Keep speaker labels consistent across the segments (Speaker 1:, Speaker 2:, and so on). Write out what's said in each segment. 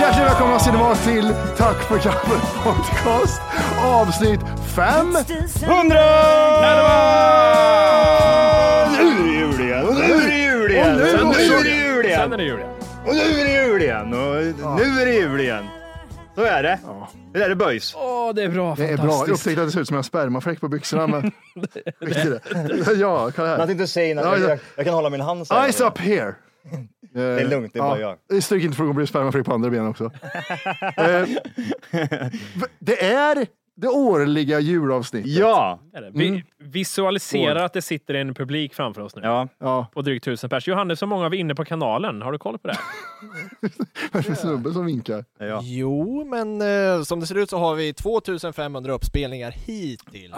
Speaker 1: Hjärtligt välkomna ska ni vara till Tack för kaffet podcast avsnitt 500!
Speaker 2: Nu är det jul igen. Och nu är det jul igen.
Speaker 1: Och nu
Speaker 2: Och nu
Speaker 1: också.
Speaker 2: är det jul igen.
Speaker 3: Sen är det jul igen.
Speaker 2: Och nu är det jul igen. Och nu är det jul igen. Så är det. Det där är böjs.
Speaker 3: Åh, det är bra.
Speaker 1: Det är bra. Jag
Speaker 3: fantastiskt.
Speaker 1: upptäckte att det ser ut som en spermafläck på byxorna. Men... Skit i det. ja, kolla
Speaker 2: Men att
Speaker 1: här.
Speaker 2: inte säga något.
Speaker 1: Ja, ja.
Speaker 2: Jag, jag kan hålla min hand så här.
Speaker 1: Eyes up here! Det är
Speaker 2: lugnt, det är bara jag.
Speaker 1: Stryk inte för att det blir spermafläck på andra benen också. Eh, det är det årliga julavsnittet.
Speaker 2: Ja.
Speaker 3: Vi
Speaker 1: Mm.
Speaker 3: visualiserar att det sitter en publik framför oss nu.
Speaker 2: Ja.
Speaker 1: ja.
Speaker 3: På drygt tusen pers. Johannes, hur många var inne på kanalen? Har du koll på det?
Speaker 1: Vad är det för snubbe som vinkar?
Speaker 2: ja.
Speaker 4: Jo, men eh, som det ser ut så har vi 2500 uppspelningar hittills.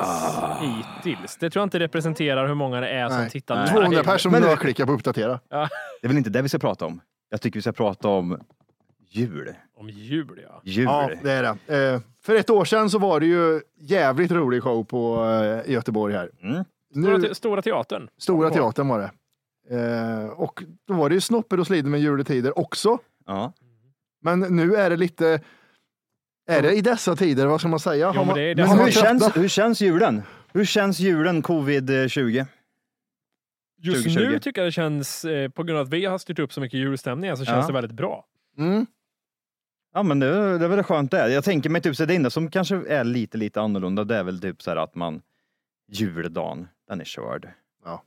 Speaker 3: Hittills. Det tror jag inte representerar hur många det är som
Speaker 1: Ah. Nej.
Speaker 3: tittar. nu.
Speaker 1: 200 Alltså, personer som
Speaker 2: Men-
Speaker 1: nördklickar på uppdatera.
Speaker 2: Det är väl inte det vi ska prata om? Jag tycker vi ska prata om jul.
Speaker 3: Om jul, ja.
Speaker 2: Jul.
Speaker 1: Ja, det är det. Eh, för ett år sedan så var det ju jävligt rolig show på eh, i Göteborg här.
Speaker 2: Mm.
Speaker 3: Stora,
Speaker 1: Nu,
Speaker 3: te- stora teatern.
Speaker 1: Stora teatern var det. Eh, och då var det ju snopper och slider med juletider också.
Speaker 2: Ja.
Speaker 1: Men nu är det lite... Är det i dessa tider? Vad ska man säga? Har
Speaker 3: men
Speaker 1: man-
Speaker 3: det är i
Speaker 1: har
Speaker 3: dessa
Speaker 1: man
Speaker 2: Hur, känns,
Speaker 1: tröttnat?
Speaker 2: hur känns julen? Hur känns julen covid-20?
Speaker 3: Just
Speaker 2: 2020.
Speaker 3: nu tycker jag det känns, eh, på grund av att vi har styrt upp så mycket julstämningar, så känns
Speaker 2: Ja.
Speaker 3: det väldigt bra.
Speaker 1: Mm.
Speaker 2: Ja men det, det är väl skönt det. Jag tänker mig typ så det enda som kanske är lite lite annorlunda det är väl typ så här att man juldagen, den är körd.
Speaker 3: Jag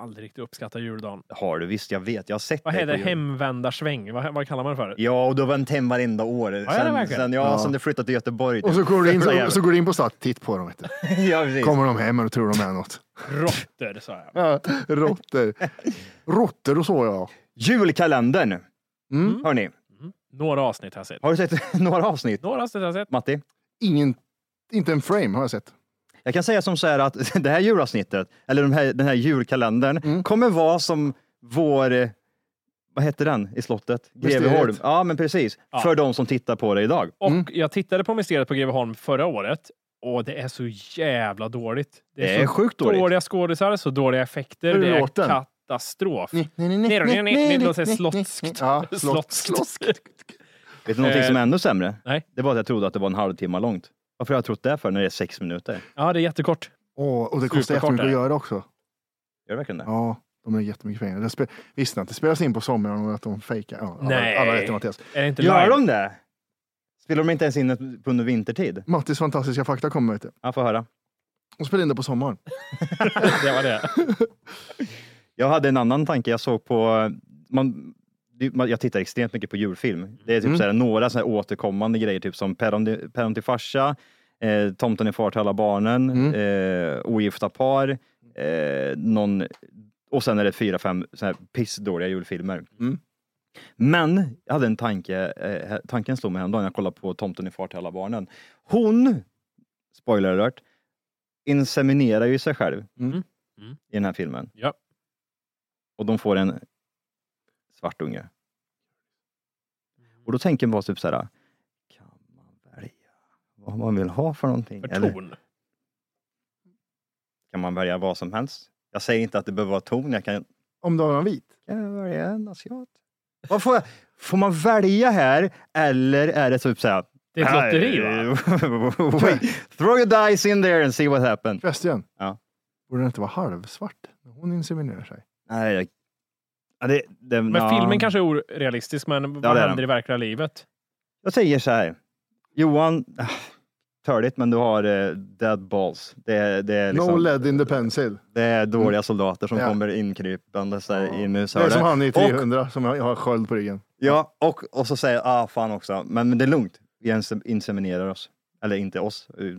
Speaker 3: har aldrig riktigt uppskattat juldagen.
Speaker 2: Det har du visst, jag vet. Jag har sett
Speaker 3: Vad
Speaker 2: dig på
Speaker 3: heter
Speaker 2: jul.
Speaker 3: hemvändarsväng? Vad, vad kallar man det för?
Speaker 2: Ja, och du har vänt hem varenda år.
Speaker 3: det
Speaker 2: sen,
Speaker 3: verkligen?
Speaker 2: sen, ja, sen du flyttade till Göteborg. typ.
Speaker 1: Och så går du in,
Speaker 2: Så
Speaker 1: så,
Speaker 2: jävla-
Speaker 1: så går du in på stan, titt på dem. Vet du.
Speaker 2: ja, precis.
Speaker 1: Kommer de hem och tror de är något.
Speaker 3: Råttor, sa jag.
Speaker 1: Ja, Råttor. Råttor och så ja.
Speaker 2: Julkalendern! Hörni,
Speaker 3: Några avsnitt har jag sett.
Speaker 2: har du sett några avsnitt?
Speaker 3: Några avsnitt har jag sett.
Speaker 2: Matti?
Speaker 1: Ingen, inte en frame har jag sett.
Speaker 2: Jag kan säga som så här att det här julavsnittet, eller den här, den här julkalendern, kommer vara som vår, eh, vad hette den i slottet? Greveholm.
Speaker 1: Mysteriet.
Speaker 2: Ja, men precis. För de som tittar på det idag.
Speaker 3: Och jag tittade på Mysteriet på Greveholm förra året och det är så jävla dåligt.
Speaker 2: Det är
Speaker 3: så
Speaker 2: sjukt dåligt.
Speaker 3: dåliga skådisar, så dåliga effekter.
Speaker 1: Hur
Speaker 3: det är
Speaker 1: låter den?
Speaker 3: katastrof. nej, nej, nej, det låter slottskt.
Speaker 1: Ja, slott,
Speaker 3: Slottskt.
Speaker 1: slottskt.
Speaker 2: Vet du någonting
Speaker 3: Eh,
Speaker 2: som är ännu sämre?
Speaker 3: nej.
Speaker 2: Det var att jag trodde att det var en halvtimme långt. Varför har jag trott det för när det är sex minuter?
Speaker 3: Ja, det är jättekort.
Speaker 1: Åh, och det kostar
Speaker 3: Superkort
Speaker 1: jättemycket att
Speaker 3: är det.
Speaker 1: göra också.
Speaker 2: Gör det verkligen det?
Speaker 1: Ja, de har jättemycket pengar. Det spel, visste ni att det spelas in på sommaren och att de fejkar? Ja, alla-
Speaker 3: Nej.
Speaker 1: Alla rätt till Mattias.
Speaker 3: Är det inte
Speaker 2: Gör
Speaker 3: live?
Speaker 2: de det? Spelar de inte ens in ett- på under vintertid?
Speaker 1: Mattis fantastiska fakta kommer ut.
Speaker 2: Jag får höra.
Speaker 1: De spelar in det på sommaren.
Speaker 3: Det var det.
Speaker 2: Jag hade en annan tanke. Jag såg på... Man, det- man- jag tittar extremt mycket på julfilm. Det är typ
Speaker 1: Mm.
Speaker 2: så här, några så här återkommande grejer, typ som Päron Päron till farsa, eh, Tomten är far till alla barnen,
Speaker 1: Mm.
Speaker 2: eh, Ogifta par, eh, någon, och sen är det fyra, fem så här pissdåliga julfilmer.
Speaker 1: Mm.
Speaker 2: Men jag hade en tanke, eh, tanken slog mig häromdagen, jag kollade på Tomten är far till alla barnen. Hon, spoiler alert, inseminerar ju sig själv
Speaker 1: Mm.
Speaker 3: Mm.
Speaker 2: i den här filmen.
Speaker 3: Ja.
Speaker 2: Och de får en svart
Speaker 3: Mm.
Speaker 2: unge. Och då tänker man typ så här, kan man välja vad man vill ha för någonting?
Speaker 3: För
Speaker 2: Eller
Speaker 3: ton.
Speaker 2: kan man välja vad som helst? Jag säger inte att det behöver vara ton, jag kan,
Speaker 1: Om du har en vit.
Speaker 2: kan jag välja en asiat. Vad får, jag, får man välja här eller är det typ så här?
Speaker 3: Det är ett lotteri va?
Speaker 2: va? Wait, throw your dice in there and see what happens.
Speaker 1: Förresten.
Speaker 2: Ja.
Speaker 1: Borde den inte vara halvsvart? när Hon inseminerar sig.
Speaker 2: Nej, jag- ja, det, det,
Speaker 3: Men filmen kanske är orealistisk, men
Speaker 2: det är
Speaker 3: vad
Speaker 2: den.
Speaker 3: händer i verkliga livet?
Speaker 2: Jag säger så här. Johan, ah, törligt men du har eh, dead balls. Det, är- det, är liksom,
Speaker 1: No lead in the pencil.
Speaker 2: det är dåliga soldater som
Speaker 1: Ja.
Speaker 2: kommer inkrypande så här, i
Speaker 1: Det är som
Speaker 2: mushörnet.
Speaker 1: han i
Speaker 2: Och,
Speaker 1: 300 som har har sköld på ryggen.
Speaker 2: ja, och, och så säger ah fan också, men, men det är lugnt. Vi inse- inseminerar oss. Eller inte oss, eh,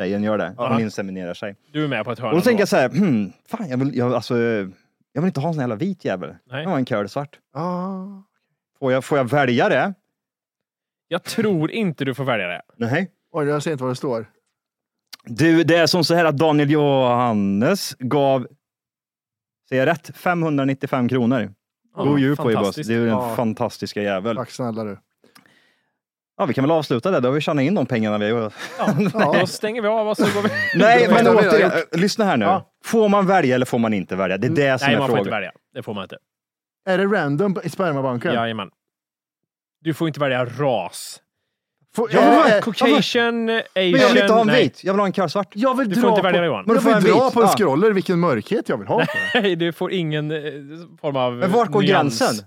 Speaker 2: tjejen gör det. Hon
Speaker 3: Ja.
Speaker 2: inseminerar sig.
Speaker 3: Du är med på ett hörn.
Speaker 2: Och då tänker
Speaker 3: ändå.
Speaker 2: jag så här, hmm, fan jag vill, jag, alltså, eh, jag vill inte ha en sån jävla vit jävel.
Speaker 3: Nej.
Speaker 2: Jag har en curl svart.
Speaker 1: Ah.
Speaker 2: Får jag, får jag välja det?
Speaker 3: jag tror inte du får välja det.
Speaker 2: Nej.
Speaker 1: Oj, jag ser inte vad det står.
Speaker 2: Du, det är som så här att Daniel Johannes gav, säger jag rätt, 595 kronor. God jul på er boss.
Speaker 3: fantastiskt.
Speaker 2: Du är den
Speaker 1: Ja.
Speaker 2: fantastiska jävel.
Speaker 1: Tack snälla du.
Speaker 2: Ja, vi kan väl avsluta där. Då har vi tjänat in de pengarna vi har gjort.
Speaker 3: Då stänger vi av och så går vi.
Speaker 2: Nej,
Speaker 1: Det
Speaker 2: men
Speaker 1: var det vi har
Speaker 2: återigen, äh, lyssna här nu.
Speaker 1: Ja.
Speaker 2: Får man välja eller får man inte välja? Det är det som
Speaker 3: Mm. Nej,
Speaker 2: är
Speaker 3: man får inte
Speaker 2: frågan.
Speaker 3: välja. Det får man inte.
Speaker 1: Är det random i spermabanken?
Speaker 3: Jajamän. Du får inte välja ras.
Speaker 1: Får, Eh,
Speaker 2: Ja,
Speaker 1: är-
Speaker 2: men-
Speaker 1: är-
Speaker 3: Caucasian, asian.
Speaker 2: Men jag vill inte ha en
Speaker 3: nej.
Speaker 2: vit. Jag vill ha en kallsvart.
Speaker 1: jag vill
Speaker 3: Du får
Speaker 1: dra
Speaker 3: inte
Speaker 1: på,
Speaker 3: välja det, Johan.
Speaker 1: Men
Speaker 2: Du
Speaker 1: jag
Speaker 2: får
Speaker 1: får
Speaker 2: en
Speaker 1: dra
Speaker 2: vit.
Speaker 1: på en
Speaker 2: Ja.
Speaker 1: scroller vilken mörkhet jag vill ha. på det.
Speaker 3: Nej, du får ingen eh, form av
Speaker 2: Men vart går
Speaker 3: nyans.
Speaker 2: gränsen?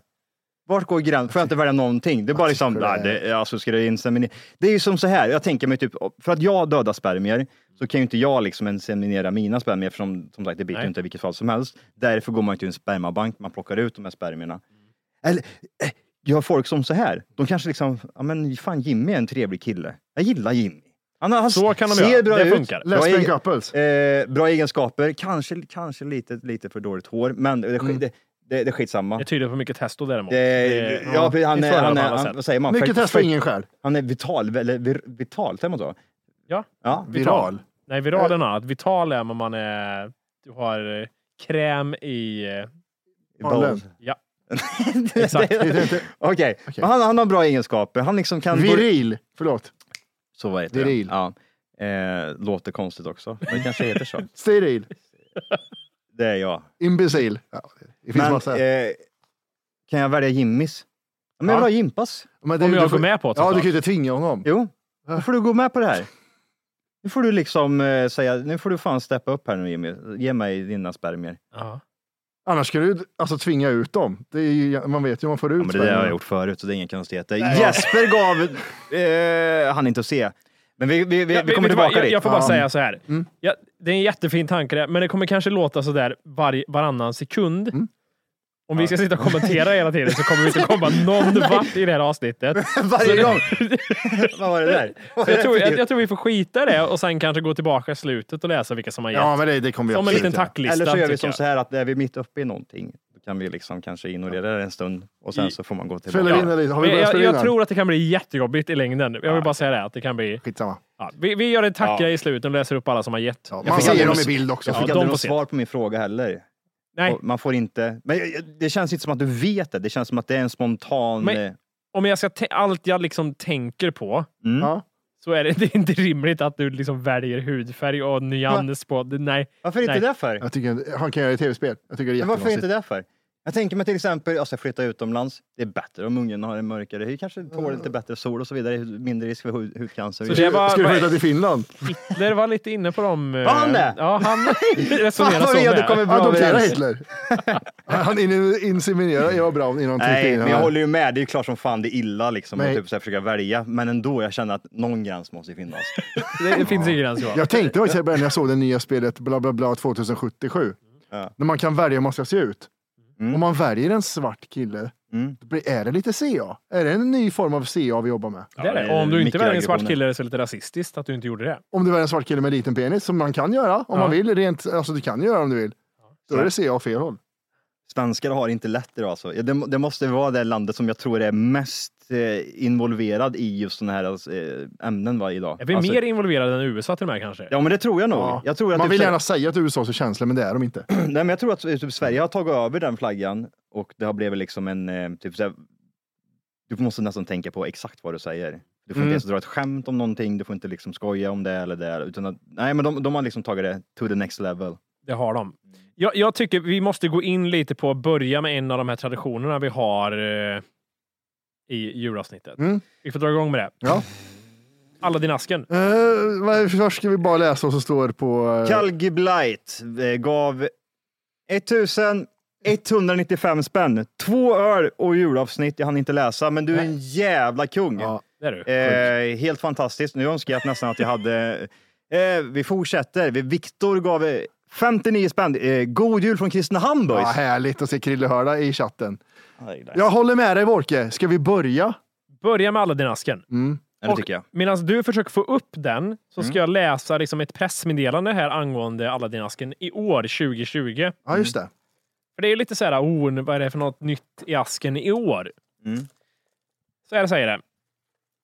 Speaker 2: Vart går gränsen? Får jag inte välja någonting? Det är bara liksom,
Speaker 1: tycker
Speaker 2: nej,
Speaker 1: det
Speaker 2: det, alltså ska det inseminera? Det är ju som så här, jag tänker mig typ, för att jag dödar spermier så kan ju inte jag liksom inseminera mina spermier eftersom som sagt det biter ju
Speaker 3: Nej.
Speaker 2: inte i vilket fall som helst. Därför går man ju till en spermabank, man plockar ut de här spermierna. Eller, eh, jag har folk som så här, de kanske liksom, ja men fan Jimmy är en trevlig kille. Jag gillar Jimmy. Han, han
Speaker 3: Så kan de
Speaker 2: ser
Speaker 3: göra.
Speaker 2: bra
Speaker 3: Det
Speaker 2: ut.
Speaker 3: funkar.
Speaker 2: Bra
Speaker 1: Lesbian
Speaker 2: egen-
Speaker 1: couples.
Speaker 2: Eh, bra egenskaper, kanske, kanske lite, lite för dåligt hår, men det, mm. det, det, det är skitsamma.
Speaker 3: Det tyder på mycket testo däremot.
Speaker 2: Det,
Speaker 3: Det-
Speaker 2: ja, ja, precis, han,
Speaker 3: det
Speaker 2: är,
Speaker 3: föredrar
Speaker 2: han,
Speaker 3: på
Speaker 2: är,
Speaker 3: alla
Speaker 2: han,
Speaker 3: sätt.
Speaker 2: vad säger man?
Speaker 1: Mycket
Speaker 2: För-
Speaker 1: test och
Speaker 2: för-
Speaker 1: ingen skär.
Speaker 2: Han är vital, eller vir, vital, säger man så?
Speaker 3: Ja.
Speaker 2: ja.
Speaker 1: Viral.
Speaker 3: Nej, viral är något annat. Vital är om man är... Du har eh, kräm i... eh,
Speaker 1: Vanlig.
Speaker 3: Ja.
Speaker 2: Exakt. Okej, Men han, han har bra egenskaper. Han liksom kan...
Speaker 1: Viril. Förlåt.
Speaker 2: Så vad heter
Speaker 1: Viril.
Speaker 2: det? Ja. Eh, låter konstigt också. Men det kanske heter så.
Speaker 1: Steril.
Speaker 2: Det är jag.
Speaker 1: Imbecil. Ja, det finns
Speaker 2: Men,
Speaker 1: massa.
Speaker 2: eh, kan jag välja Jimmys? Ja, Men
Speaker 1: Ja.
Speaker 2: jag vill ha Jimpas.
Speaker 1: Men
Speaker 3: om
Speaker 1: du
Speaker 3: jag
Speaker 1: får-
Speaker 3: går med på det,
Speaker 1: Ja, du
Speaker 3: såklart.
Speaker 1: kan ju inte tvinga honom.
Speaker 2: Jo, då får du gå med på det här. Nu får du liksom eh, säga, nu får du fan steppa upp här nu Jimmy. Ge mig dina spermier.
Speaker 3: Ja.
Speaker 1: Annars ska du alltså tvinga ut dem. Det är ju, man vet ju hur man får ut
Speaker 2: Ja, men det där har jag gjort förut, så det är inga konstigheter. Jesper gav... Eh, han inte att se. Men vi, vi, vi,
Speaker 3: Ja,
Speaker 2: vi
Speaker 3: vet
Speaker 2: kommer
Speaker 3: du
Speaker 2: tillbaka
Speaker 3: vad? jag,
Speaker 2: dit.
Speaker 3: jag får bara
Speaker 1: Ja. Mm.
Speaker 3: säga så här. Ja, det är en jättefin tanke, det, men det kommer kanske låta så där var, varannan sekund.
Speaker 1: Mm.
Speaker 3: Om vi ska sitta och kommentera hela tiden så kommer vi inte komma någon vart i det här avsnittet.
Speaker 2: Varje gång. vad var det där? Vad var
Speaker 3: Så jag,
Speaker 2: det för
Speaker 3: tror, jag, jag tror vi får skita i det och sen kanske gå tillbaka i slutet och läsa vilka som har gett.
Speaker 1: Ja, men det, det kommer vi
Speaker 3: som en
Speaker 1: absolut
Speaker 3: liten
Speaker 1: göra.
Speaker 3: tacklista.
Speaker 2: Eller så gör vi
Speaker 3: tycker
Speaker 2: som
Speaker 3: jag.
Speaker 2: så här att är vi mitt uppe i någonting, då kan vi liksom kanske ignorera det en stund och sen så får man gå tillbaka.
Speaker 1: Spelar vi in det lite? Har vi
Speaker 3: Men
Speaker 1: börjat
Speaker 3: jag,
Speaker 1: spela in
Speaker 3: jag
Speaker 1: än?
Speaker 3: tror att det kan bli jättejobbigt i längden. Jag vill bara säga det. Att det kan bli,
Speaker 1: Skitsamma.
Speaker 3: ja. vi, vi gör en tacka
Speaker 2: Ja.
Speaker 3: i slutet och läser upp alla som har gett.
Speaker 1: Ja,
Speaker 3: Jag
Speaker 1: man
Speaker 3: fick
Speaker 1: ser
Speaker 3: aldrig
Speaker 1: dem
Speaker 3: något-
Speaker 1: i bild också.
Speaker 2: Jag
Speaker 3: Ja,
Speaker 2: fick
Speaker 3: de
Speaker 2: aldrig
Speaker 3: får
Speaker 2: något
Speaker 3: se.
Speaker 2: svar på min fråga heller.
Speaker 3: Nej,
Speaker 2: Och Man får inte... Men jag- jag- det känns inte som att du vet det. Det känns som att det är en spontan...
Speaker 3: Men-
Speaker 2: eh,
Speaker 3: om jag ska te- allt jag liksom tänker på
Speaker 2: Mm.
Speaker 1: Ja.
Speaker 3: så är det, det är inte rimligt att du liksom väljer hudfärg och nyans på... det- Nej.
Speaker 2: Varför inte
Speaker 3: Nej.
Speaker 2: det för?
Speaker 1: Jag tycker, han kan göra ett tv-spel. Jag tycker det är
Speaker 2: Men varför inte
Speaker 1: jättekonstigt.
Speaker 2: det för? Jag tänker mig till exempel, alltså flytta utomlands. Det är bättre om ungen har en mörkare hy, kanske tål lite bättre sol och så vidare. Mindre risk för hud, hudcancer.
Speaker 3: Så det var,
Speaker 1: Ska du flytta till Finland?
Speaker 3: Hitler var lite inne på dem. eh,
Speaker 2: han det?
Speaker 3: Ja, han
Speaker 2: Fan
Speaker 3: resonerar
Speaker 2: vad
Speaker 3: så
Speaker 2: vi hade
Speaker 3: med.
Speaker 2: kommit bra
Speaker 1: Adoptera
Speaker 2: överens.
Speaker 1: Hitler. Han in- inseminerar Eva Braun innan
Speaker 2: Nej, men jag
Speaker 1: här.
Speaker 2: håller ju med. Det är ju klart som fan det är illa liksom att
Speaker 1: Nej.
Speaker 2: typ så här försöka välja. Men ändå, jag känner att någon gräns måste ju finnas.
Speaker 3: Det, det finns ingen gräns Johan.
Speaker 1: Jag tänkte faktiskt i början när jag såg det nya spelet bla bla bla 2077.
Speaker 2: Ja.
Speaker 1: När man kan välja hur man ska se ut.
Speaker 2: Mm.
Speaker 1: Om man väljer en svart kille,
Speaker 2: Mm.
Speaker 1: då blir- är det lite CA? Är det en ny form av CA vi jobbar med?
Speaker 3: Det är det.
Speaker 2: Ja,
Speaker 3: Och om du inte väljer en
Speaker 2: mikroaggressioner.
Speaker 3: svart kille är det så lite rasistiskt att du inte gjorde det.
Speaker 1: Om du väljer en svart kille med liten penis, som man kan göra om
Speaker 3: Ja.
Speaker 1: man vill. Rent, alltså du kan göra om du vill. Då är det CA åt fel håll.
Speaker 2: Svenskar har inte lätt idag alltså. Ja, Det, det måste vara det landet som jag tror är mest eh, involverad i just sådana här eh, ämnen va, idag.
Speaker 3: Är vi
Speaker 2: Alltså-
Speaker 3: mer involverade än USA till och med kanske?
Speaker 2: Ja men det tror jag nog.
Speaker 1: Ja.
Speaker 2: Jag tror att
Speaker 1: Man
Speaker 2: typ
Speaker 1: vill
Speaker 2: så-
Speaker 1: gärna säga att USA är så känsliga, men det är de inte.
Speaker 2: Nej, men jag tror att typ, Sverige har tagit över den flaggan och det har blivit liksom en... eh, Typ, såhär, du måste nästan tänka på exakt vad du säger. Du får
Speaker 1: Mm.
Speaker 2: inte ens dra ett skämt om någonting, du får inte liksom skoja om det eller det. Utan att, nej, men de, de har liksom tagit det to the next level.
Speaker 1: Eh.
Speaker 3: Det har de. Jag, jag tycker vi måste gå in lite på att börja med en av de här traditionerna vi har eh, i julavsnittet.
Speaker 1: Mm.
Speaker 3: Vi får dra igång med det.
Speaker 1: Ja.
Speaker 3: Aladdin-asken.
Speaker 1: Eh, vad- först ska vi bara läsa vad som står på... eh,
Speaker 2: Calgi Blight eh, gav 1195 spänn, två öl och julavsnitt. Jag hann inte läsa, men du är en jävla kung.
Speaker 1: Ja.
Speaker 3: Det är du.
Speaker 2: Eh, helt fantastiskt. Nu önskar jag nästan att jag hade... Eh, vi fortsätter. Vi- Viktor gav eh, 59 spänn. Eh, god jul från Kristinehamn
Speaker 1: Ja,
Speaker 2: boys!
Speaker 1: härligt att se Krille Hörda i chatten.
Speaker 2: Ja, det
Speaker 1: Jag håller med dig Wolke. Ska vi börja?
Speaker 3: Börja med Aladdin-asken. Och
Speaker 2: tycker jag.
Speaker 3: Medan du försöker få upp den så
Speaker 2: Mm.
Speaker 3: ska jag läsa liksom ett pressmeddelande här angående Aladdin-asken i år, 2020.
Speaker 1: Ja, just det.
Speaker 3: För det är lite så här, oh, nu- vad är det för något nytt i asken i år?
Speaker 2: Mm.
Speaker 3: Så här säger det.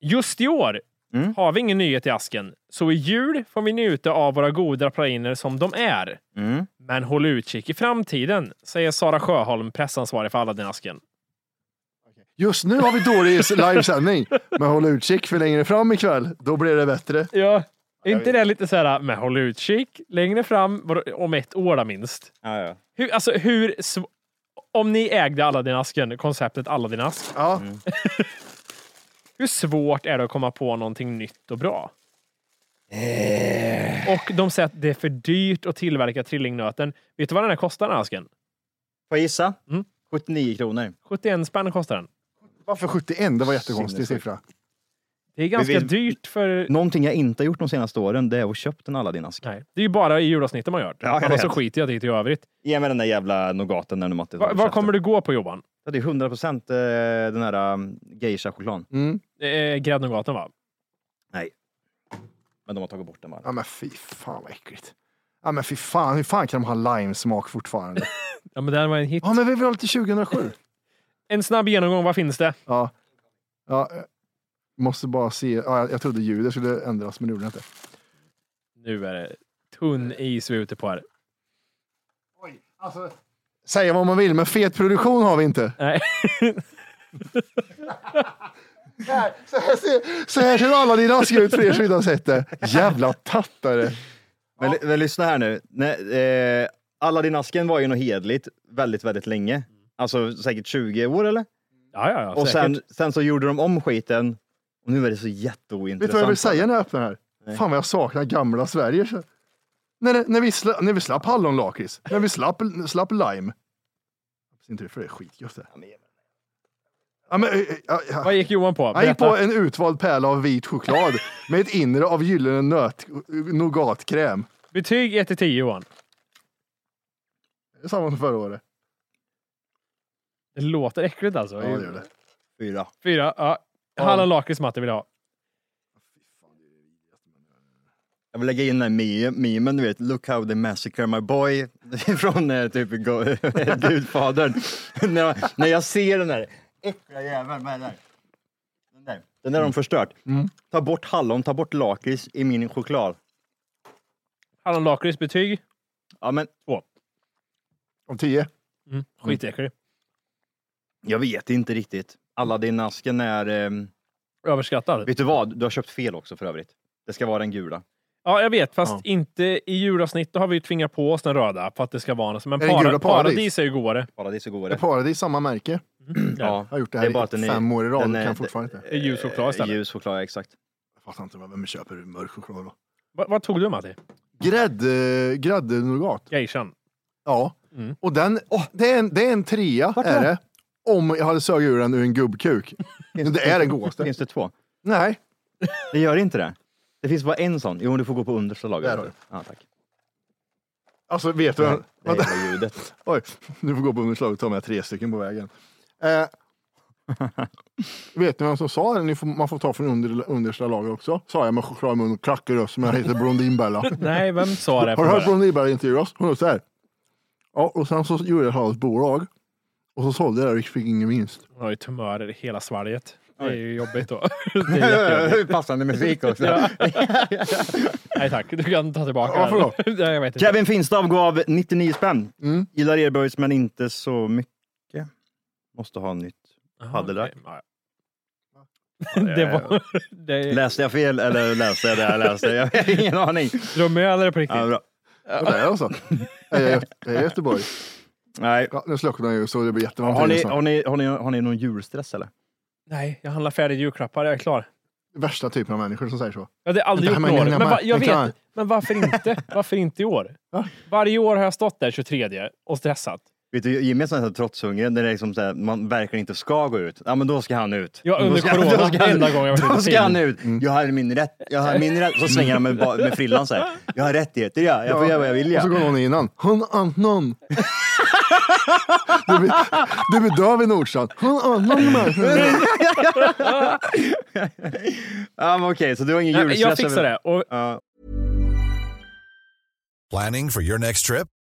Speaker 3: Just i år
Speaker 2: Mm.
Speaker 3: har vi ingen nyhet i asken, så i jul får vi njuta av våra goda praliner som de är.
Speaker 2: Mm.
Speaker 3: Men håll utkik i framtiden, säger Sara Sjöholm, pressansvarig för Aladdin-asken.
Speaker 1: Just nu har vi dålig livesändning, men håll utkik för längre fram ikväll. Då blir det bättre.
Speaker 3: Ja, är inte det lite så här, men håll utkik längre fram, vadå, om ett år då minst?
Speaker 2: Ja, ja.
Speaker 3: Hur, alltså hur... sv- Om ni ägde Aladdin-asken, konceptet Aladdin-ask,
Speaker 1: Ja.
Speaker 3: hur svårt är det att komma på någonting nytt och bra?
Speaker 2: Eh.
Speaker 3: Och de säger att det är för dyrt att tillverka trillingnöten. Vet du vad den här kostar, den här asken?
Speaker 2: Får jag gissa?
Speaker 3: Mm.
Speaker 2: 79 kronor.
Speaker 3: 71 spänn kostar den.
Speaker 1: Varför 71? Det var en jättekonstig siffra.
Speaker 3: Det är ganska
Speaker 2: vi-
Speaker 3: dyrt för...
Speaker 2: Någonting jag inte har gjort de senaste åren, det är att köpa en Aladdin-ask.
Speaker 3: Nej, det är ju bara i julavsnittet man gör det.
Speaker 2: Ja, jag
Speaker 3: Annars så
Speaker 2: vet.
Speaker 3: skiter jag i det i övrigt.
Speaker 2: Ge mig den där jävla nougaten där nu Matte.
Speaker 3: Va, vad kommer du gå på, Johan?
Speaker 2: Ja, Det är 100 procent eh, den här um, geisha-chokladen.
Speaker 1: Mm.
Speaker 3: Eh, Gräddnougaten, va?
Speaker 2: Men de har tagit bort den bara.
Speaker 1: Ja, men fy fan vad äckligt. Ja, men fy fan, hur fan kan de ha limesmak fortfarande?
Speaker 3: Ja, men den var en hit.
Speaker 1: Ja, men vi vill ha lite 2007.
Speaker 3: En snabb genomgång, vad finns det?
Speaker 1: Ja. ja. eh, Måste bara se. Ja, jag- jag trodde ljudet skulle ändras, men det gjorde det inte.
Speaker 3: Nu är det tunn is vi är ute på här.
Speaker 1: alltså- Säga vad man vill, men fet produktion har vi inte.
Speaker 3: Nej.
Speaker 1: Här, så, här ser, så här ser alla dina askar ut för er som inte har sett det. Jävla tattare.
Speaker 2: Men, men lyssna här nu. Nej, eh, Aladdin-asken var ju något hedligt väldigt, väldigt länge. Alltså säkert 20 år eller?
Speaker 3: Ja, ja, ja.
Speaker 2: Och
Speaker 3: säkert.
Speaker 2: sen, sen så gjorde de om skiten och nu är det så
Speaker 1: Vet du vad jag vill
Speaker 2: jätteointressant.
Speaker 1: säga när jag öppnar här? Fan vad jag saknar gamla Sverige. så. När, det- när, vi, sla, när vi slapp hallonlakrits, när vi slapp, slapp lime. Hoppas inte det, för det är skitgött det. Ja, men, eh, eh, ja, ja.
Speaker 3: Vad gick Johan på?
Speaker 1: Han gick
Speaker 3: Berätta.
Speaker 1: på en utvald pärla av vit choklad med ett inre av gyllene nöt, nougatkräm.
Speaker 3: Betyg 1 till 10 Johan.
Speaker 1: Det är samma som förra året.
Speaker 3: Det låter äckligt alltså.
Speaker 1: Ja, det gör det.
Speaker 2: Fyra.
Speaker 3: Fyra. Ja. Hallonlakrits Matte vill jag ha.
Speaker 2: Jag vill lägga in den här me- memen, du vet, look how they massacre my boy från eh, typ Go- Gudfadern. när, jag, när jag ser den här äckliga jäveln, vad är det där? Den där, den där har de förstört.
Speaker 3: Mm.
Speaker 2: Ta bort hallon, ta bort lakrits i min choklad.
Speaker 3: Hallonlakrits
Speaker 1: Mm.
Speaker 3: betyg?
Speaker 2: Ja men
Speaker 1: Om tio.
Speaker 3: Mm. Skitäcklig.
Speaker 2: jag vet inte riktigt. Alla din asken är, ehm,
Speaker 3: Överskattad.
Speaker 2: vet du vad? Du har köpt fel också för övrigt. Det ska vara den gula.
Speaker 3: Ja, jag vet. Fast
Speaker 2: Ja.
Speaker 3: inte i julavsnitt. Då har vi ju tvingat på oss den röda för att det ska vara något. Men
Speaker 1: Är det
Speaker 3: para,
Speaker 1: gula paradis?
Speaker 3: paradis är ju godare.
Speaker 2: Paradis är
Speaker 1: Det
Speaker 2: godare.
Speaker 1: är Paradis, samma märke.
Speaker 2: Ja,
Speaker 1: Jag har gjort det här i fem år i rad, kan fortfarande inte.
Speaker 3: Det är ljus choklad
Speaker 1: Eh,
Speaker 3: istället.
Speaker 2: Ljus choklad, exakt.
Speaker 1: Jag fattar inte, vad- vem köper mörk choklad då?
Speaker 3: Va, vad tog du Matti?
Speaker 1: Grädde, gräddnougat.
Speaker 3: Geishan.
Speaker 1: Ja.
Speaker 3: Mm.
Speaker 1: Och den, det, är en, det är en trea, är det. Om jag hade sögit ur den ur en gubbkuk. det är den godaste.
Speaker 2: Finns det två?
Speaker 1: Nej.
Speaker 2: Det gör inte det. Det finns bara en sån. Jo, du får gå på understa
Speaker 1: Där
Speaker 2: lagret.
Speaker 1: har du.
Speaker 2: Ja, tack.
Speaker 1: Alltså, vet du?
Speaker 2: Det
Speaker 1: vad-
Speaker 2: jävla ljudet.
Speaker 1: Oj, du får gå på underslag och ta med tre stycken på vägen. Eh, vet ni vem som sa det? Ni får, man får ta från under, understa laget också. Sa jag med choklad i mun och klackig röst som jag heter Blondinbella.
Speaker 3: Nej, vem sa det?
Speaker 1: Har du hört
Speaker 3: från början?
Speaker 1: Blondinbella intervjua oss? Hon låter så här. Ja, och sen så gjorde jag ett halvt bolag. Och så sålde jag det och fick ingen vinst.
Speaker 3: Hon har ju tumörer i hela svalget. Det är ju jobbigt då. Det är jättejobbigt.
Speaker 5: Ja. Passande musik också.
Speaker 3: Ja. Nej tack, du kan ta tillbaka
Speaker 1: Varför då?
Speaker 3: den. Nej, jag vet inte.
Speaker 2: Kevin Finstav gav 99 spänn.
Speaker 1: Mm.
Speaker 2: Gillar Ereböjs men inte så mycket. Måste ha nytt.
Speaker 3: Aha,
Speaker 2: Paddelrack.
Speaker 3: Ah, okej. Ja. Det var... Det
Speaker 2: Läste jag fel eller läste jag det jag läste? Jag har ingen aning.
Speaker 3: Drömödare på riktigt.
Speaker 2: Ja, bra.
Speaker 1: Ja, det är alltså. Jag är jag är i Göteborg.
Speaker 2: Nej.
Speaker 1: Ja, nu slocknar jag ju så det blir jättevarmt.
Speaker 2: Har ni,
Speaker 1: här
Speaker 2: har, ni, har, ni, har ni någon julstress eller?
Speaker 3: Nej, jag handlar färdigt julklappar, jag är klar.
Speaker 1: Värsta typen av människor som säger så.
Speaker 3: Jag hade aldrig
Speaker 1: Vänta,
Speaker 3: gjort
Speaker 1: men-
Speaker 3: några
Speaker 1: men-
Speaker 3: år. Men, va, jag
Speaker 1: men kan-
Speaker 3: vet, men varför inte? Varför inte i år? Varje år har jag stått där 23 och stressat.
Speaker 2: Vet du, Jimmy är sån här tråtshungrig, där det är liksom så här, man verkligen inte ska gå ut. Ja, men då ska han ut.
Speaker 3: Ja,
Speaker 2: Då
Speaker 3: under
Speaker 2: ska-
Speaker 3: corona,
Speaker 2: då ska han-
Speaker 3: enda gången jag varit
Speaker 2: Då
Speaker 3: ute i Mm.
Speaker 2: ska han
Speaker 3: tiden.
Speaker 2: ut. Jag har min rätt. Jag har min rätt. Så svänger han med, ba- med frillan så här. Jag har rättigheter, ja. Jag får göra vad jag vill,
Speaker 1: Och så
Speaker 2: ja.
Speaker 1: går någon innan. Hon annan. Du blir, du blir döv i Nordstrand. Hon annan människa.
Speaker 2: ja men Okej, så du har ingen
Speaker 3: Nej, men
Speaker 2: julstress?
Speaker 3: Jag fixar
Speaker 2: över-
Speaker 3: det. Och
Speaker 2: Ja.
Speaker 5: Planning for your next trip?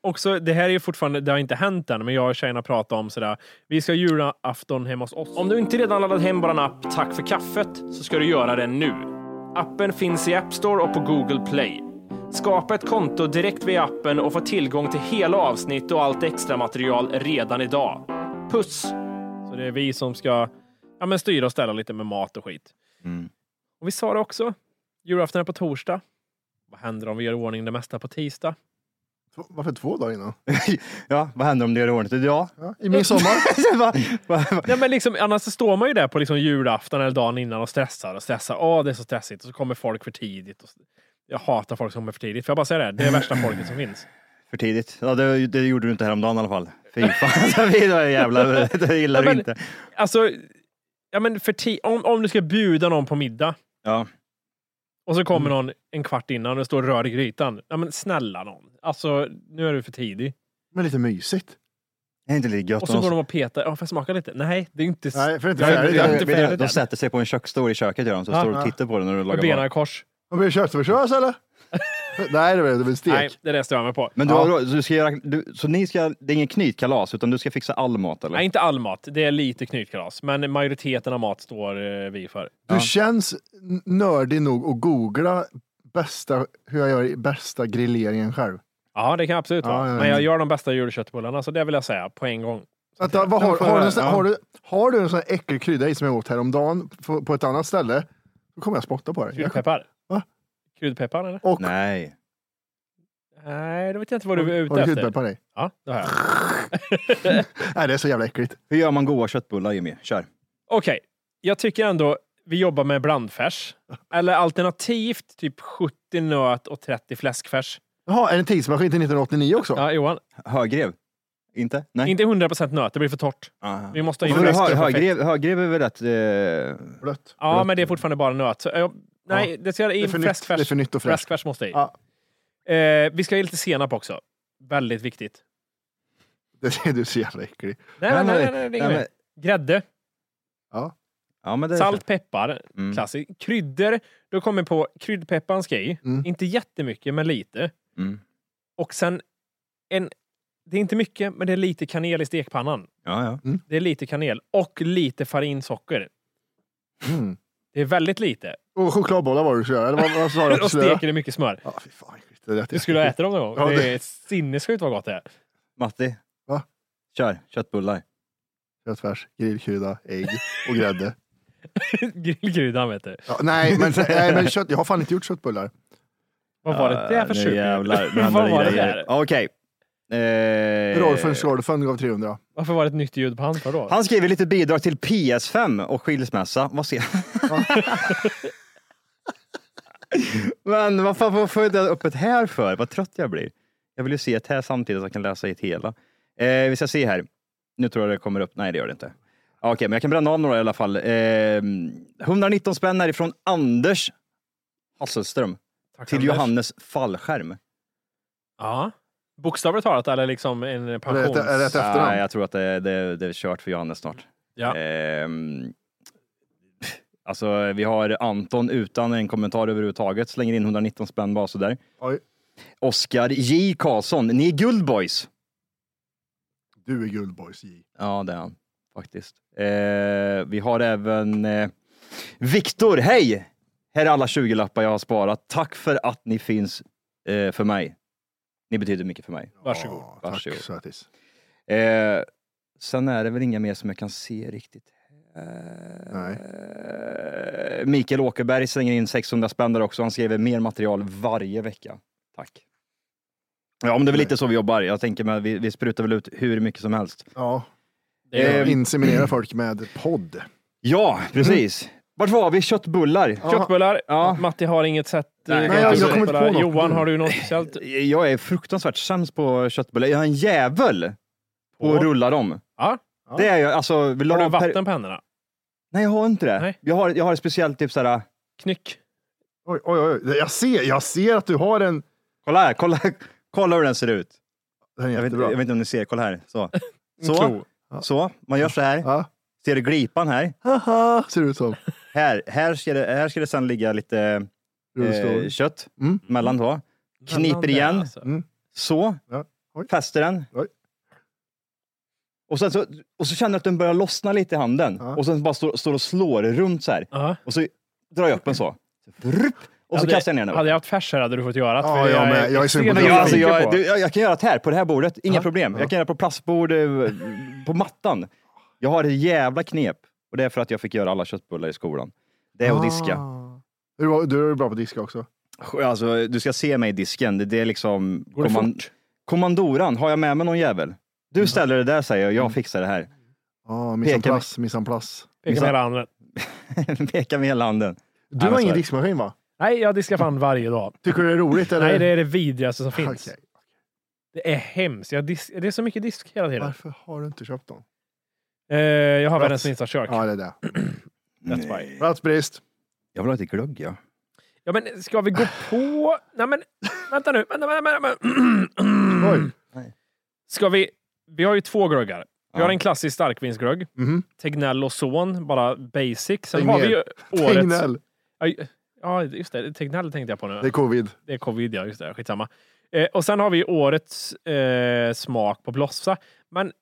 Speaker 3: också, det här är ju fortfarande, det har inte hänt än, men jag och tjejerna pratade om sådär, vi ska ha julafton hemma hos oss. Om du inte redan laddat hem vår app Tack för kaffet så ska du göra det nu. Appen finns i App Store och på Google Play. Skapa ett konto direkt via appen och få tillgång till hela avsnitt och allt extra material redan idag. Puss! Så det är vi som ska ja, men styra och ställa lite med mat och skit. Och vi sa det också, julafton är på torsdag. Vad händer om vi gör i ordning det mesta på tisdag?
Speaker 1: Varför två dagar innan?
Speaker 2: ja, vad händer om du gör i ordning till idag?
Speaker 1: Ja, I midsommar.
Speaker 2: Va- va- va-
Speaker 3: Nej, men liksom, annars så står man ju där på liksom julafton eller dagen innan och stressar och stressar. Åh, det är så stressigt. Och så kommer folk för tidigt. Och så... Jag hatar folk som kommer för tidigt. Får jag bara säga det? här? Det är värsta folket som finns.
Speaker 2: För tidigt. Ja, det, det gjorde du inte häromdagen i alla fall. Fy fan, det är jävla, det gillar
Speaker 3: Ja,
Speaker 2: du
Speaker 3: men-
Speaker 2: inte.
Speaker 3: Alltså, ja, men för ti- om, om du ska bjuda någon på middag
Speaker 2: Ja.
Speaker 3: och så kommer
Speaker 1: Mm.
Speaker 3: någon en kvart innan och det står rör i grytan. Ja, men snälla någon. Alltså, nu är du för tidig.
Speaker 1: Men lite mysigt.
Speaker 2: Det är inte lika gött.
Speaker 3: Och så går de och petar. Ja, får jag smaka lite? Nej, det är inte... s-
Speaker 1: Nej, för det är inte
Speaker 3: Jag är-
Speaker 1: färdigt
Speaker 3: jag är
Speaker 1: än.
Speaker 3: inte
Speaker 2: de, de,
Speaker 3: färdigt
Speaker 2: de
Speaker 3: än.
Speaker 2: sätter sig på en köksstol i köket, gör de, så
Speaker 3: Ja.
Speaker 2: står du och tittar på den när du
Speaker 3: Med
Speaker 2: lagar
Speaker 3: benen
Speaker 2: mat.
Speaker 3: i kors.
Speaker 1: Har vi köttfärssås eller? Nej, det blir- det blir stek.
Speaker 3: Nej, det är det jag stör mig på.
Speaker 2: Men du, har, så, du ska göra, du, så ni ska, det är ingen knytkalas, utan du ska fixa all mat eller?
Speaker 3: Nej, inte all mat. Det är lite knytkalas. Men majoriteten av mat står eh, vi för.
Speaker 1: Du känns n- nördig nog att googla bästa, hur jag gör i bästa grilleringen själv.
Speaker 3: Ja, det kan jag absolut vara.
Speaker 1: Ja, ja, ja.
Speaker 3: Men jag gör de bästa julköttbullarna, så det vill jag säga på en gång.
Speaker 1: Vänta, vad har,
Speaker 2: får
Speaker 1: har, du, en
Speaker 2: jag-
Speaker 1: sån-
Speaker 2: ja.
Speaker 1: har, du, har du en sån här äcklig krydda i som jag åt häromdagen på, på ett annat ställe, då kommer jag spotta på dig. Jag-
Speaker 3: Kryddpeppar.
Speaker 1: Va?
Speaker 3: Kryddpeppar, eller?
Speaker 1: Och
Speaker 2: Nej.
Speaker 3: Nej, då vet jag inte vad du är
Speaker 1: har
Speaker 3: ute
Speaker 1: du
Speaker 3: efter.
Speaker 1: kryddpeppar i?
Speaker 3: Ja, det har jag.
Speaker 1: Nej, det är så jävla äckligt.
Speaker 2: Hur gör man goda köttbullar, Jimmy? Kör.
Speaker 3: Okej, jag tycker ändå vi jobbar med blandfärs. Eller alternativt typ 70 nöt och 30 fläskfärs.
Speaker 1: Jaha, är det en tidsmaskin till 1989 också?
Speaker 3: Ja, Johan.
Speaker 2: Högrev? Inte? Nej. Ah.
Speaker 3: Inte 100% nöt, det blir för torrt.
Speaker 2: Aha.
Speaker 3: Vi måste ha in
Speaker 2: Varför
Speaker 3: fläsk för
Speaker 2: hö,
Speaker 3: att få fett.
Speaker 2: högrev, högrev är väl rätt... Eh,
Speaker 1: Blött.
Speaker 3: Ja, men det är fortfarande bara nöt. Så, eh, nej, det ska
Speaker 1: Det är
Speaker 3: in
Speaker 1: för nytt, det är
Speaker 3: fläskfärs.
Speaker 1: för nytt och fräscht.
Speaker 3: Fläskfärs måste i.
Speaker 1: Ja.
Speaker 3: Eh, vi ska ha i lite senap också. Väldigt viktigt.
Speaker 1: Det är du är så jävla äcklig.
Speaker 3: Nej, nej, nej. nej, nej, det är inget
Speaker 2: men-
Speaker 3: mer. Grädde,
Speaker 2: ja, men det är
Speaker 3: salt, peppar.
Speaker 2: Mm.
Speaker 3: Klassiskt. Kryddor. Då kommer jag på kryddpepparn ska i.
Speaker 1: Mm.
Speaker 3: Inte jättemycket, men lite.
Speaker 2: Mm.
Speaker 3: Och sen en... Det är inte mycket, men det är lite kanel i stekpannan.
Speaker 2: Ja, ja.
Speaker 3: Det är lite kanel och lite farinsocker.
Speaker 1: Mm.
Speaker 3: Det är väldigt lite.
Speaker 1: Och chokladbollar var det du skulle göra, eller vad, vad sa du?
Speaker 3: Och steker i mycket smör.
Speaker 1: Ja, fy fan. äckligt. Det lät
Speaker 3: Du skulle ha
Speaker 1: jätteäckligt.
Speaker 3: ätit dem någon
Speaker 1: Ja,
Speaker 3: gång.
Speaker 1: det-
Speaker 3: Det är sinnessjukt vad gott det är.
Speaker 2: Matti?
Speaker 1: Va?
Speaker 2: Kör, köttbullar.
Speaker 1: köttfärs, grillkrydda, ägg och grädde.
Speaker 3: Grillkryddan vet du.
Speaker 1: Ja, nej, men, nej, men kött, jag har fan inte gjort köttbullar.
Speaker 3: Vad var det där för
Speaker 2: Nu jävlar. nu händer
Speaker 3: Vad var det
Speaker 2: grejer.
Speaker 3: där?
Speaker 2: Okej. Eh,
Speaker 1: Rolfen Scholfen gav 300.
Speaker 3: Varför var det ett nytt ljud på hans för då?
Speaker 2: Han skriver lite bidrag till PS5 och skilsmässa. Vad ser Men vad fan vad får jag det öppet här för? Vad trött jag blir. Jag vill ju se ett här samtidigt så jag kan läsa ett hela. Eh, vi ska se här. Nu tror jag det kommer upp. Nej, det gör det inte. Ja, Okej, men jag kan bränna av några i alla fall. Eh, 119 spänn är ifrån Anders Hasselström
Speaker 3: Tack,
Speaker 2: till
Speaker 3: Anders.
Speaker 2: Johannes fallskärm.
Speaker 3: Ja. Bokstavligt talat eller liksom en
Speaker 1: Är
Speaker 3: pensions...
Speaker 1: det ett- är det ett- efternamn?
Speaker 2: Nej, jag tror att det, det, det är kört för Johannes snart.
Speaker 3: Ja.
Speaker 2: Ehm, alltså, vi har Anton utan en kommentar överhuvudtaget, slänger in 119 spänn bara sådär.
Speaker 1: Oj,
Speaker 2: Oskar J Karlsson, ni är guldboys.
Speaker 1: du är guldboys J.
Speaker 2: Ja, det är han faktiskt. Eh, vi har även eh, Viktor, hej! Här är alla 20-lappar jag har sparat. Tack för att ni finns eh, för mig. Ni betyder mycket för mig.
Speaker 3: Varsågod.
Speaker 1: Ja,
Speaker 2: Varsågod.
Speaker 1: tack sötis.
Speaker 2: Eh, sen är det väl inga mer som jag kan se riktigt.
Speaker 1: Nej.
Speaker 2: Eh, Mikael Åkerberg slänger in 600 spänn där också. Han skriver mer material varje vecka. Tack. Ja, men det är väl lite så vi jobbar. Jag tänker mig, vi, vi sprutar väl ut hur mycket som helst.
Speaker 1: Ja, Ehm.
Speaker 3: Det är-
Speaker 2: Eh,
Speaker 1: inseminera folk med podd.
Speaker 2: Ja, precis. Vart var vi? Köttbullar.
Speaker 3: Köttbullar.
Speaker 2: Ja.
Speaker 3: Matti har inget sätt.
Speaker 2: Nej,
Speaker 3: eh,
Speaker 2: nej, jag
Speaker 3: köttbullar.
Speaker 2: kommer
Speaker 1: inte på något.
Speaker 3: Johan, har du något speciellt?
Speaker 2: Jag är fruktansvärt sämst på köttbullar. Jag är en jävel på
Speaker 3: På?
Speaker 2: att rulla dem.
Speaker 3: Ja.
Speaker 2: Det är jag. Alltså, vill
Speaker 3: Har
Speaker 2: ha
Speaker 3: du
Speaker 2: per-
Speaker 3: vatten på händerna?
Speaker 2: Nej, jag har inte det.
Speaker 3: Nej.
Speaker 2: Jag har, jag har ett speciellt typ såhär...
Speaker 3: Knyck.
Speaker 1: Oj, oj, oj. Jag ser, jag ser att du har en...
Speaker 2: Kolla här, kolla, kolla hur den ser ut.
Speaker 1: Den är
Speaker 2: Jag vet,
Speaker 1: jättebra.
Speaker 2: jag vet inte om ni ser, kolla här. Så. Så.
Speaker 3: Klo.
Speaker 2: Så, man gör så här.
Speaker 1: Ja.
Speaker 2: Ser du glipan här?
Speaker 1: Haha, ser det ut som.
Speaker 2: Här, här, ska, det, här ska det sen ligga lite eh,
Speaker 1: Rullstol.
Speaker 2: kött
Speaker 1: Mm.
Speaker 2: mellan då.
Speaker 3: Mellan
Speaker 2: Kniper
Speaker 3: där,
Speaker 2: igen,
Speaker 3: alltså.
Speaker 2: så.
Speaker 1: Ja. Oj.
Speaker 2: Fäster den.
Speaker 1: Oj.
Speaker 2: Och, sen så, och så känner jag att den börjar lossna lite i handen.
Speaker 1: Ja.
Speaker 2: Och sen bara står, står och slår runt så här.
Speaker 3: Ja.
Speaker 2: Och så drar jag upp den så. Vrupp. Och så
Speaker 3: Hade-
Speaker 2: kastar jag ner den.
Speaker 3: Hade jag haft färs här hade du fått göra det.
Speaker 1: Ja,
Speaker 3: för
Speaker 1: jag med. Jag är sugen på
Speaker 3: extremt
Speaker 2: Men jag, alltså,
Speaker 3: nyfiken
Speaker 2: jag,
Speaker 3: på.
Speaker 2: du, jag, jag kan göra det här, på det här bordet. Inga
Speaker 1: Ja.
Speaker 2: problem.
Speaker 1: Ja.
Speaker 2: Jag kan göra det på plastbord, eh, på mattan. Jag har ett jävla knep. Och det är för att jag fick göra alla köttbullar i skolan. Det är att diska.
Speaker 1: Ah. Du, var- du är bra på att diska också.
Speaker 2: Alltså, du ska se mig i disken. Det, det är liksom...
Speaker 3: Går det
Speaker 2: komman-
Speaker 3: fort?
Speaker 2: Kommandoran, har jag med mig någon jävel?
Speaker 1: Mm.
Speaker 2: Du ställer det där säger jag, jag fixar det här.
Speaker 1: Ah,
Speaker 2: Pekar mig.
Speaker 1: missanplass, missanplass.
Speaker 3: Pekar med hela handen.
Speaker 2: Pekar med hela handen.
Speaker 1: Du
Speaker 2: men
Speaker 1: har
Speaker 2: så
Speaker 1: ingen
Speaker 2: är det.
Speaker 1: diskmaskin va?
Speaker 3: Nej, jag diskar fan varje dag.
Speaker 1: Tycker du det är roligt? Eller?
Speaker 3: Nej, det är det vidrigaste som finns.
Speaker 1: Okej.
Speaker 3: Det är hemskt. Jag dis- det är så mycket disk hela tiden.
Speaker 1: Varför har du inte köpt dem?
Speaker 3: Eh, jag har världens
Speaker 1: Plats.
Speaker 3: minsta kök.
Speaker 1: Ja, det är det.
Speaker 3: That's why.
Speaker 1: Platsbrist.
Speaker 2: Jag vill ha lite glögg, ja.
Speaker 3: Ja, men ska vi gå på... Nej, men vänta nu. Vänta, vänta, vänta. Mm.
Speaker 1: Oj.
Speaker 3: Ska vi... Vi har ju två glöggar. Vi har
Speaker 2: Ja.
Speaker 3: en klassisk starkvinsglögg.
Speaker 1: Mhm.
Speaker 3: Tegnell och Son, bara basic. Sen
Speaker 1: Tegnér.
Speaker 3: har vi ju årets...
Speaker 1: Tegnell.
Speaker 3: Ja, Ja, just det. Tegnell tänkte jag på nu.
Speaker 1: Det är covid.
Speaker 3: Det är covid, ja. Just det. Skitsamma. Eh, och sen har vi årets eh, smak på blossa. Men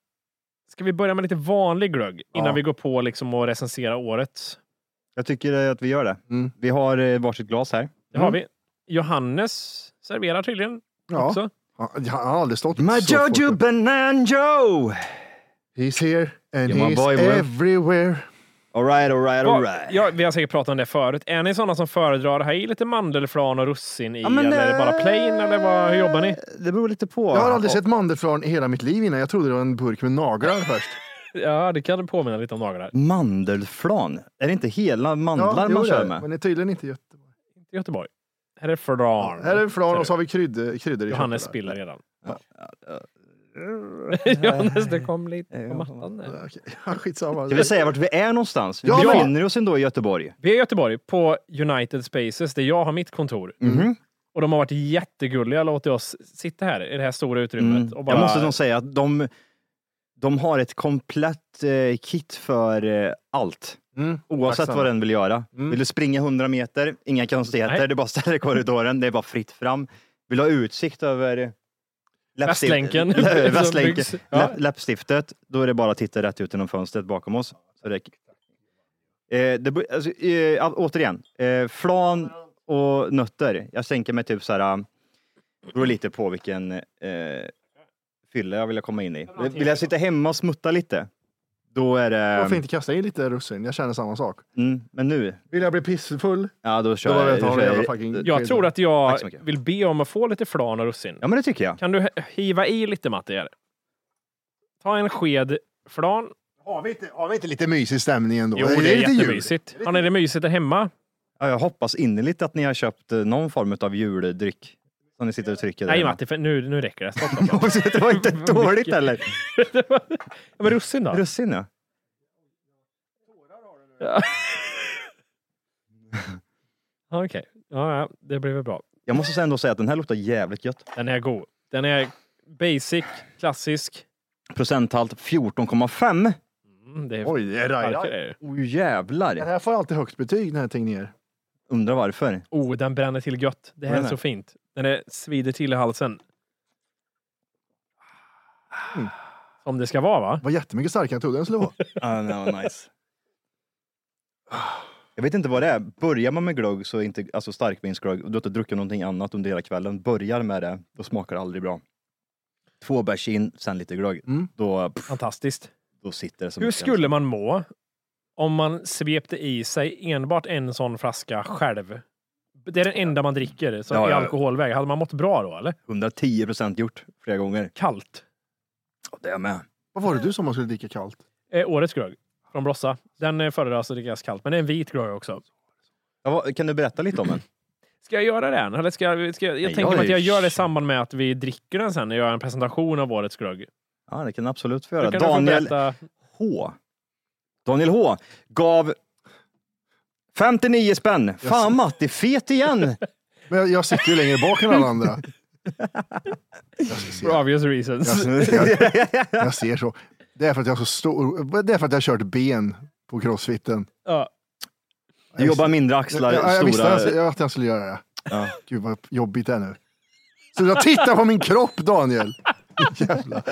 Speaker 3: ska vi börja med lite vanlig glögg innan
Speaker 1: Ja.
Speaker 3: vi går på liksom och recensera årets?
Speaker 2: Jag tycker eh, att vi gör det.
Speaker 1: Mm.
Speaker 2: Vi har eh, varsitt glas här. Mm.
Speaker 3: Det har vi. Johannes serverar tydligen
Speaker 1: Ja.
Speaker 3: också.
Speaker 1: Han han har aldrig stått
Speaker 2: My
Speaker 1: så fort
Speaker 2: Jojo
Speaker 1: upp.
Speaker 2: Bananjo!
Speaker 1: He's here and
Speaker 2: You're
Speaker 1: he's
Speaker 2: my boy, Will.
Speaker 1: everywhere.
Speaker 2: Alright, alright,
Speaker 3: Va-
Speaker 2: alright.
Speaker 3: Ja, vi har säkert pratat om det förut. Är ni sådana som föredrar att ha i lite mandelflarn och russin i?
Speaker 2: Ja, men,
Speaker 3: eller är det bara
Speaker 2: eh,
Speaker 3: plain? Eller vad, hur jobbar
Speaker 1: eh,
Speaker 3: ni?
Speaker 2: Det beror lite på.
Speaker 1: Jag har aldrig sett mandelflarn i hela mitt liv innan. Jag trodde det var en burk med naglar först.
Speaker 3: Ja, det kan påminna lite om naglar.
Speaker 1: Mm.
Speaker 2: Mandelflan? Är det inte hela mandlar
Speaker 1: jo,
Speaker 2: man
Speaker 1: det är
Speaker 2: kör
Speaker 1: det.
Speaker 2: med?
Speaker 1: Men det är tydligen inte Göteborg.
Speaker 3: Inte Göteborg. Här är flarn.
Speaker 1: Här är flarn
Speaker 3: Ser
Speaker 1: och så
Speaker 3: du?
Speaker 1: har vi krydd, kryddor i
Speaker 3: Johannes
Speaker 1: köttet där.
Speaker 3: spiller redan. Johannes, det kom lite på mattan där.
Speaker 1: Ja, okej. Ja, Skitsamma.
Speaker 2: Ska vi säga vart vi är någonstans? Vi
Speaker 1: Ja, men-
Speaker 2: befinner oss ändå i Göteborg.
Speaker 3: Vi är i Göteborg på United Spaces där jag har mitt kontor.
Speaker 2: Mhm.
Speaker 3: Och de har varit jättegulliga och låtit oss sitta här i det här stora utrymmet.
Speaker 2: Mm.
Speaker 3: Och bara,
Speaker 2: Jag måste nog säga att de, de har ett komplett eh, kit för eh, allt.
Speaker 1: Mm,
Speaker 2: Oavsett
Speaker 1: tacksam.
Speaker 2: vad den vill göra.
Speaker 1: Mm.
Speaker 2: Vill du springa 100 meter, inga konstigheter,
Speaker 3: Nej.
Speaker 2: det är bara att ställa dig i korridoren, det är bara fritt fram. Vill du ha utsikt över läppstift-
Speaker 3: Västlänken.
Speaker 2: Lä-
Speaker 3: Som
Speaker 2: Västlänken.
Speaker 3: byggs. Ja.
Speaker 2: Lä- Läppstiftet, då är det bara att titta rätt ut genom fönstret bakom oss. Så det... Eh, det, bo- alltså, eh, å- återigen, eh, flan och nötter. Jag tänker mig typ så här, eh, beror lite på vilken eh, fylla jag vill komma in i. Vill jag sitta hemma och smutta lite? Då är det...
Speaker 1: Varför inte kasta in lite russin? Jag känner samma sak.
Speaker 2: Mm, men nu,
Speaker 1: Vill jag bli pissfull?
Speaker 2: ja då kör
Speaker 1: Då var det
Speaker 2: jag.
Speaker 1: att ha
Speaker 2: då kör
Speaker 1: en
Speaker 2: jag-
Speaker 1: jävla fucking-
Speaker 3: Jag tror att jag
Speaker 2: Tack så mycket.
Speaker 3: vill be om att få lite flan och russin.
Speaker 2: Ja men det tycker jag.
Speaker 3: Kan du h- hiva i lite, Matti? här? Ta en sked flan.
Speaker 1: Har vi inte, har vi inte lite mysig stämning ändå?
Speaker 3: Jo,
Speaker 1: lite
Speaker 3: det är
Speaker 1: jul.
Speaker 3: jättemysigt. Har ni det mysigt där hemma?
Speaker 2: Ja, jag hoppas innerligt att ni har köpt eh, någon form av juldryck som ni sitter och trycker där
Speaker 3: Nej,
Speaker 2: hemma.
Speaker 3: Matti, för nu, nu räcker det. Stopp, stopp.
Speaker 2: det var inte dåligt
Speaker 3: Mycket.
Speaker 2: heller.
Speaker 3: Det var- Ja, Men russin då?
Speaker 2: Russin ja.
Speaker 3: Ja, Okej, ja, ja, det blir väl bra.
Speaker 2: Jag måste ändå säga att den här luktar jävligt gött.
Speaker 3: Den är god. Den är basic, klassisk.
Speaker 2: Procenthalt 14,5.
Speaker 3: Mm, det är
Speaker 1: Oj, det är raj,
Speaker 3: starkare.
Speaker 1: raj.
Speaker 3: är det.
Speaker 2: Oh
Speaker 1: Den
Speaker 2: jävlar.
Speaker 1: här får alltid högt betyg, den här Tegnér.
Speaker 2: Undrar varför.
Speaker 3: Oh, den bränner till gött. Det här
Speaker 2: Den
Speaker 3: är
Speaker 2: är.
Speaker 3: så fint. Den är svider till i halsen. Som det ska vara, va?
Speaker 1: Var jättemycket starkare än jag trodde den skulle vara.
Speaker 2: Ah, no, nice. Jag vet inte vad det är. Börjar man med glögg, så inte, alltså starkvinsglögg, och du har inte druckit någonting annat under hela kvällen, börjar med det, då smakar det aldrig bra. Två bärs in, sen lite glögg.
Speaker 1: Mm.
Speaker 2: Då, pff,
Speaker 3: Fantastiskt.
Speaker 2: då sitter det som
Speaker 3: Hur skulle man må om man svepte i sig enbart en sån flaska själv? Det är den enda man dricker så
Speaker 2: Ja, ja,
Speaker 3: i
Speaker 2: ja.
Speaker 3: alkoholväg. Hade man mått bra då, eller?
Speaker 2: 110 procent gjort flera gånger.
Speaker 3: Kallt.
Speaker 2: Ja, Det är med.
Speaker 1: Vad var det du som man skulle dricka kallt?
Speaker 3: Eh, årets glögg från Brossa. Den eh, föredras att drickas kallt, men det är en vit glögg också.
Speaker 2: Ja, vad- kan du berätta lite om den?
Speaker 3: Ska jag göra det än? Eller ska jag, ska jag, jag
Speaker 2: Nej,
Speaker 3: tänker
Speaker 2: jag
Speaker 3: mig att
Speaker 2: är-
Speaker 3: jag gör det i samband med att vi dricker den sen när jag gör en presentation av årets glögg.
Speaker 2: Ja, det kan du absolut få
Speaker 3: Då
Speaker 2: göra.
Speaker 3: kan du få
Speaker 2: Daniel
Speaker 3: berätta-
Speaker 2: H. Daniel H. gav 59 spänn. Fan Matti, fet igen!
Speaker 1: Men jag, jag sitter ju längre bak än alla andra. Jag ska se.
Speaker 3: For obvious reasons.
Speaker 1: Jag, jag, Alltså, jag ser så. Det är för att jag har så stor... Det är för att jag har kört ben på crossfiten.
Speaker 3: Ja.
Speaker 2: Du jobbar mindre axlar,
Speaker 1: Jag, jag, jag visste
Speaker 2: stora...
Speaker 1: att jag, att jag skulle göra det.
Speaker 2: Ja.
Speaker 1: Gud vad jobbigt det är nu. Så jag tittar på min kropp Daniel. Jävlar.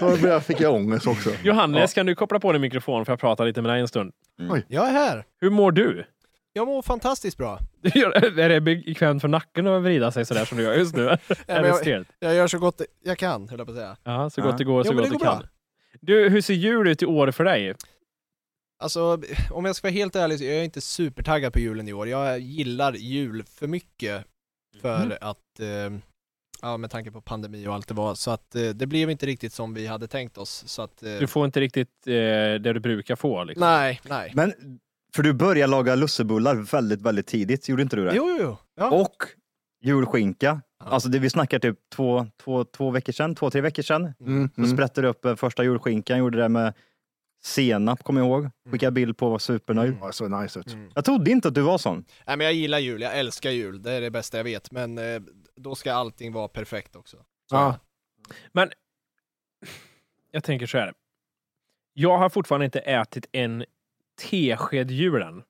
Speaker 1: Då blev jag- fick jag ångest också.
Speaker 3: Johannes, kan du koppla på din mikrofon för jag pratar lite med dig en stund?
Speaker 2: Mm.
Speaker 4: Jag är här.
Speaker 3: Hur mår du?
Speaker 4: Jag mår fantastiskt bra.
Speaker 3: Du gör- är det bekvämt för nacken att vrida sig sådär som du gör just nu? är
Speaker 4: men
Speaker 3: det
Speaker 4: jag-
Speaker 3: stelt?
Speaker 4: Jag gör så gott jag kan, höll jag på att säga.
Speaker 3: Ja, så
Speaker 2: Ja.
Speaker 3: gott det går, så
Speaker 4: Jo, men
Speaker 3: gott
Speaker 4: det
Speaker 3: det
Speaker 4: går bra.
Speaker 3: kan. Du, hur ser jul ut i år för dig?
Speaker 4: Alltså, om jag ska vara helt ärlig så är jag inte supertaggad på julen i år. Jag gillar jul för mycket för att, eh, ja med tanke på pandemi och allt det var, så att eh, det blev inte riktigt som vi hade tänkt oss. Så att, eh,
Speaker 3: Du får inte riktigt eh, det du brukar få. Liksom.
Speaker 4: nej, nej.
Speaker 2: Men, för du började laga lussebullar väldigt, väldigt tidigt, gjorde inte du det?
Speaker 4: Jo, jo, jo. Ja.
Speaker 2: Och julskinka. Alltså det, vi snackar typ två, två, två veckor sedan, två, tre veckor sedan.
Speaker 1: Mm,
Speaker 2: Så sprätte du upp eh, första julskinkan, gjorde det med senap, kommer jag ihåg. Skickade bild på, var supernöjd.
Speaker 1: Ja, det såg nice ut.
Speaker 3: Mm.
Speaker 2: Jag trodde inte att du var sån.
Speaker 4: Nej men jag gillar jul, jag älskar jul, det är det bästa jag vet, men eh, då ska allting vara perfekt också. Så,
Speaker 1: Ja.
Speaker 3: Men jag tänker så här. Jag har fortfarande inte ätit en tesked jul än. Fattar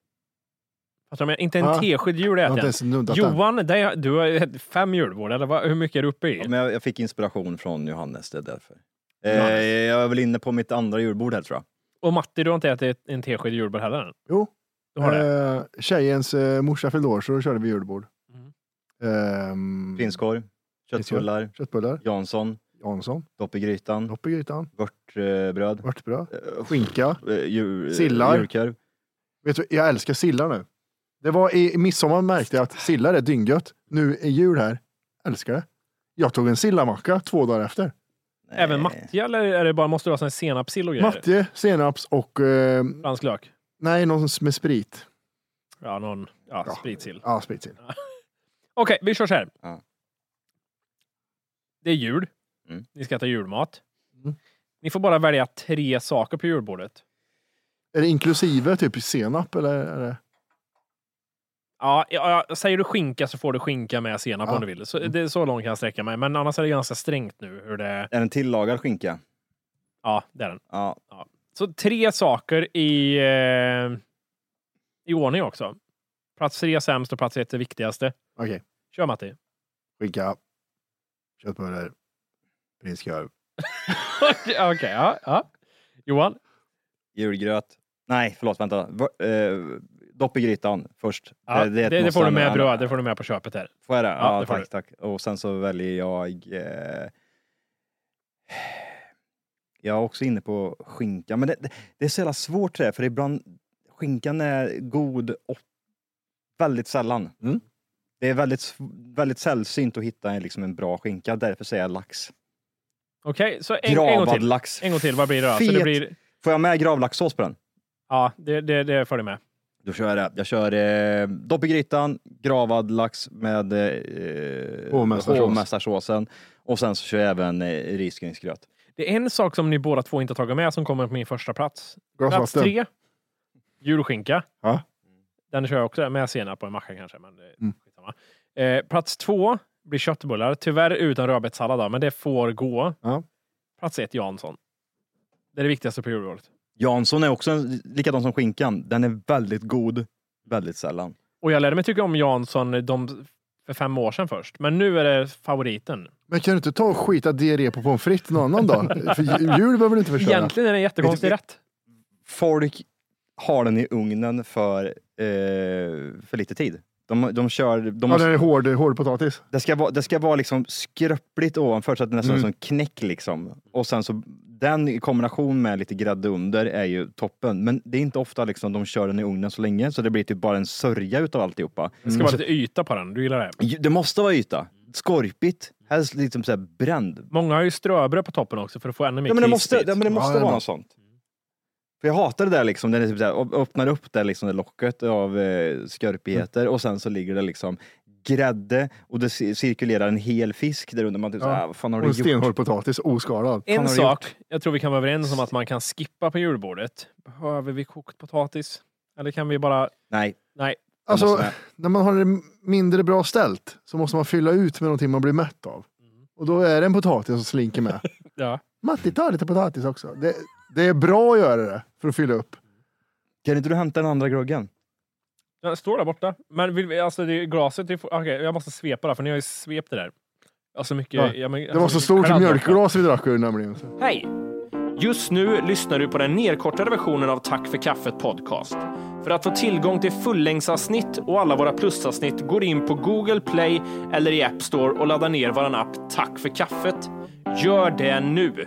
Speaker 3: du vad jag menar? inte en
Speaker 1: Ja.
Speaker 3: tesked jul
Speaker 1: Jag
Speaker 3: har
Speaker 1: har
Speaker 3: jag
Speaker 1: inte
Speaker 3: ätit
Speaker 1: ens nuddat
Speaker 3: än.
Speaker 1: den.
Speaker 3: Johan, det är, du har ätit fem julbord, eller vad, hur mycket är du uppe i?
Speaker 2: Ja, men jag, jag fick inspiration från Johannes, det är därför. Eh, jag är väl inne på mitt andra julbord här tror jag.
Speaker 3: Och Matti, du har inte ätit en tesked julbord heller än?
Speaker 1: Jo.
Speaker 3: Du har det?
Speaker 1: Eh, tjejens eh, morsa fyllde år så då körde vi julbord.
Speaker 3: Mm.
Speaker 2: Mm.
Speaker 1: Ehm,
Speaker 2: Prinskorv, köttbullar,
Speaker 1: Köttbullar,
Speaker 2: Jansson,
Speaker 1: Jansson,
Speaker 2: dopp i grytan,
Speaker 1: dopp i grytan,
Speaker 2: vörtbröd,
Speaker 1: örtbröd,
Speaker 2: eh,
Speaker 1: skinka.
Speaker 2: eh, djur,
Speaker 1: Sillar.
Speaker 2: djurkorv.
Speaker 1: Vet du, jag älskar sillar nu. Det var i i midsommar märkte jag att sillar är dyngött. Nu är jul här. Älskar det. Jag tog en sillamacka två dagar efter.
Speaker 3: Även Matti, eller är det bara, måste du ha sån här senapssill och grejer?
Speaker 1: Matte, senaps och... Eh,
Speaker 3: Fransk lök?
Speaker 1: nej, någon med sprit.
Speaker 3: Ja, någon ja,
Speaker 1: Ja.
Speaker 3: spritsill.
Speaker 1: Ja, spritsill.
Speaker 3: Okej, vi kör så här.
Speaker 2: Ja.
Speaker 3: Det är jul.
Speaker 2: Mm.
Speaker 3: Ni ska äta julmat.
Speaker 1: Mm.
Speaker 3: Ni får bara välja tre saker på julbordet.
Speaker 1: Är det inklusive typ senap eller? Är det...
Speaker 3: Ja, ja, ja, säger du skinka så får du skinka med senap
Speaker 1: Ja. Mm.
Speaker 3: om du vill. Så, det, så långt kan jag sträcka mig. Men annars är det ganska strängt nu hur det...
Speaker 2: Är den tillagad skinka?
Speaker 3: Ja, det är den.
Speaker 2: Ja.
Speaker 3: Så tre saker i, eh, i ordning också. Plats tre är sämst och plats ett är viktigaste.
Speaker 1: Okej,
Speaker 3: Kör Matti.
Speaker 1: skinka, köttbullar, prinskorv.
Speaker 3: Okej, ja, ja. Johan?
Speaker 2: Julgröt. Nej, förlåt, vänta. Vör- eh, dopp i grytan först.
Speaker 3: Ja,
Speaker 2: Eh,
Speaker 3: det,
Speaker 2: ett
Speaker 3: det, får du
Speaker 2: måste.
Speaker 3: med
Speaker 2: Ja,
Speaker 3: bröd, det får du med på köpet här.
Speaker 2: Får jag det?
Speaker 3: Ja,
Speaker 2: Ja,
Speaker 3: det får
Speaker 2: tack,
Speaker 3: du.
Speaker 2: tack. Och sen så väljer jag... Eh, Jag är också inne på skinka, men det, det är så jävla svårt det där, för ibland, skinkan är god och väldigt sällan.
Speaker 1: Mm.
Speaker 2: Det är väldigt, sv- väldigt sällsynt att hitta en, liksom en bra skinka, därför säger jag lax.
Speaker 3: Okej, så en, en gång
Speaker 2: Gravad
Speaker 3: till.
Speaker 2: lax.
Speaker 3: En gång till, vad blir det då? Så det
Speaker 2: Fet.
Speaker 3: blir,
Speaker 2: Får jag med gravlaxsås på den?
Speaker 3: ja, det, det, det följer med.
Speaker 2: Då kör jag det. Jag kör eh, dopp i grytan, gravad lax med eh,
Speaker 1: Hovmästarsås.
Speaker 2: hovmästarsåsen och sen så kör jag även eh, risgrynsgröt.
Speaker 3: Det är en sak som ni båda två inte har tagit med som kommer på min första plats.
Speaker 1: Glas
Speaker 3: Plats
Speaker 1: vatten.
Speaker 3: tre. Julskinka.
Speaker 1: Ja.
Speaker 3: Den kör jag också med senap på en macka kanske. Men det är skitsamma. eh, plats två blir köttbullar. Tyvärr utan rödbetssallad, då, men det får gå.
Speaker 1: Ja.
Speaker 3: Plats ett, Jansson. Det är det viktigaste på julbordet.
Speaker 2: Jansson är också en, likadan som skinkan. Den är väldigt god, väldigt sällan.
Speaker 3: Och jag lärde mig tycka om Jansson de, för fem år sedan först. Men nu är det favoriten.
Speaker 1: Men kan du inte ta och skita diarré på pommes frites någon annan dag? För ju- jul behöver du inte förstöra.
Speaker 3: Egentligen är det en jättekonstig
Speaker 2: Vet
Speaker 3: rätt.
Speaker 2: Folk har den i ugnen för, eh, för lite tid. De, de kör, de
Speaker 1: Ja, det
Speaker 2: måste,
Speaker 1: är hård, hård potatis.
Speaker 2: det, ska vara, det ska vara liksom skröpligt ovanför så att det nästan är
Speaker 1: Mm.
Speaker 2: som knäck liksom. Och sen så den i kombination med lite grädde under är ju toppen. Men det är inte ofta liksom de kör den i ugnen så länge så det blir typ bara en sörja utav alltihopa. Mm.
Speaker 3: Det ska vara lite yta på den. Du gillar det.
Speaker 2: Ju- Det måste vara yta. Skorpigt. Helst liksom så här bränd.
Speaker 3: Många har ju ströbröd på toppen också för att få ännu mer
Speaker 2: Ja men det måste,
Speaker 3: krispigt.
Speaker 2: ja, men det måste
Speaker 1: Ja, det är
Speaker 2: vara
Speaker 1: bra.
Speaker 2: något sånt. För jag hatar det där liksom, när det typ så här, ö- öppnar upp det, liksom, det locket av eh, skorpigheter och sen så ligger det liksom grädde och det ci- cirkulerar en hel fisk där under. Man typ
Speaker 1: Ja.
Speaker 2: så här, vad fan har
Speaker 1: Och
Speaker 2: du
Speaker 1: en
Speaker 2: gjort?
Speaker 1: stenhård potatis, oskalad.
Speaker 3: En
Speaker 2: har du
Speaker 3: sak jag tror vi kan vara överens om att man kan skippa på julbordet. Behöver vi kokt potatis? Eller kan vi bara...
Speaker 2: Nej.
Speaker 3: Nej.
Speaker 2: det
Speaker 1: Alltså-
Speaker 2: måste med.
Speaker 1: När man har det mindre bra ställt så måste man fylla ut med någonting man blir mätt av. Och då är det en potatis som slinker med.
Speaker 3: Ja.
Speaker 1: Matti, ta lite potatis också. Det, det är bra att göra det för att fylla upp.
Speaker 2: Kan inte du hämta den andra groggen?
Speaker 3: Den står där borta. Men vill vi, alltså det, är glaset... det är for- Okej, jag måste svepa där, för ni har ju svept det där. Alltså mycket...
Speaker 1: Ja,
Speaker 3: ja, men-
Speaker 1: Det var
Speaker 3: alltså,
Speaker 1: så stort som
Speaker 3: kladd borta.
Speaker 1: mjölkglas vi drack ur nämligen.
Speaker 3: Hej! Just nu lyssnar du på den nedkortade versionen av Tack för kaffet podcast. För att få tillgång till fullängdsavsnitt och alla våra plusavsnitt går in på Google Play eller i App Store och laddar ner vår app Tack för kaffet. Gör det nu!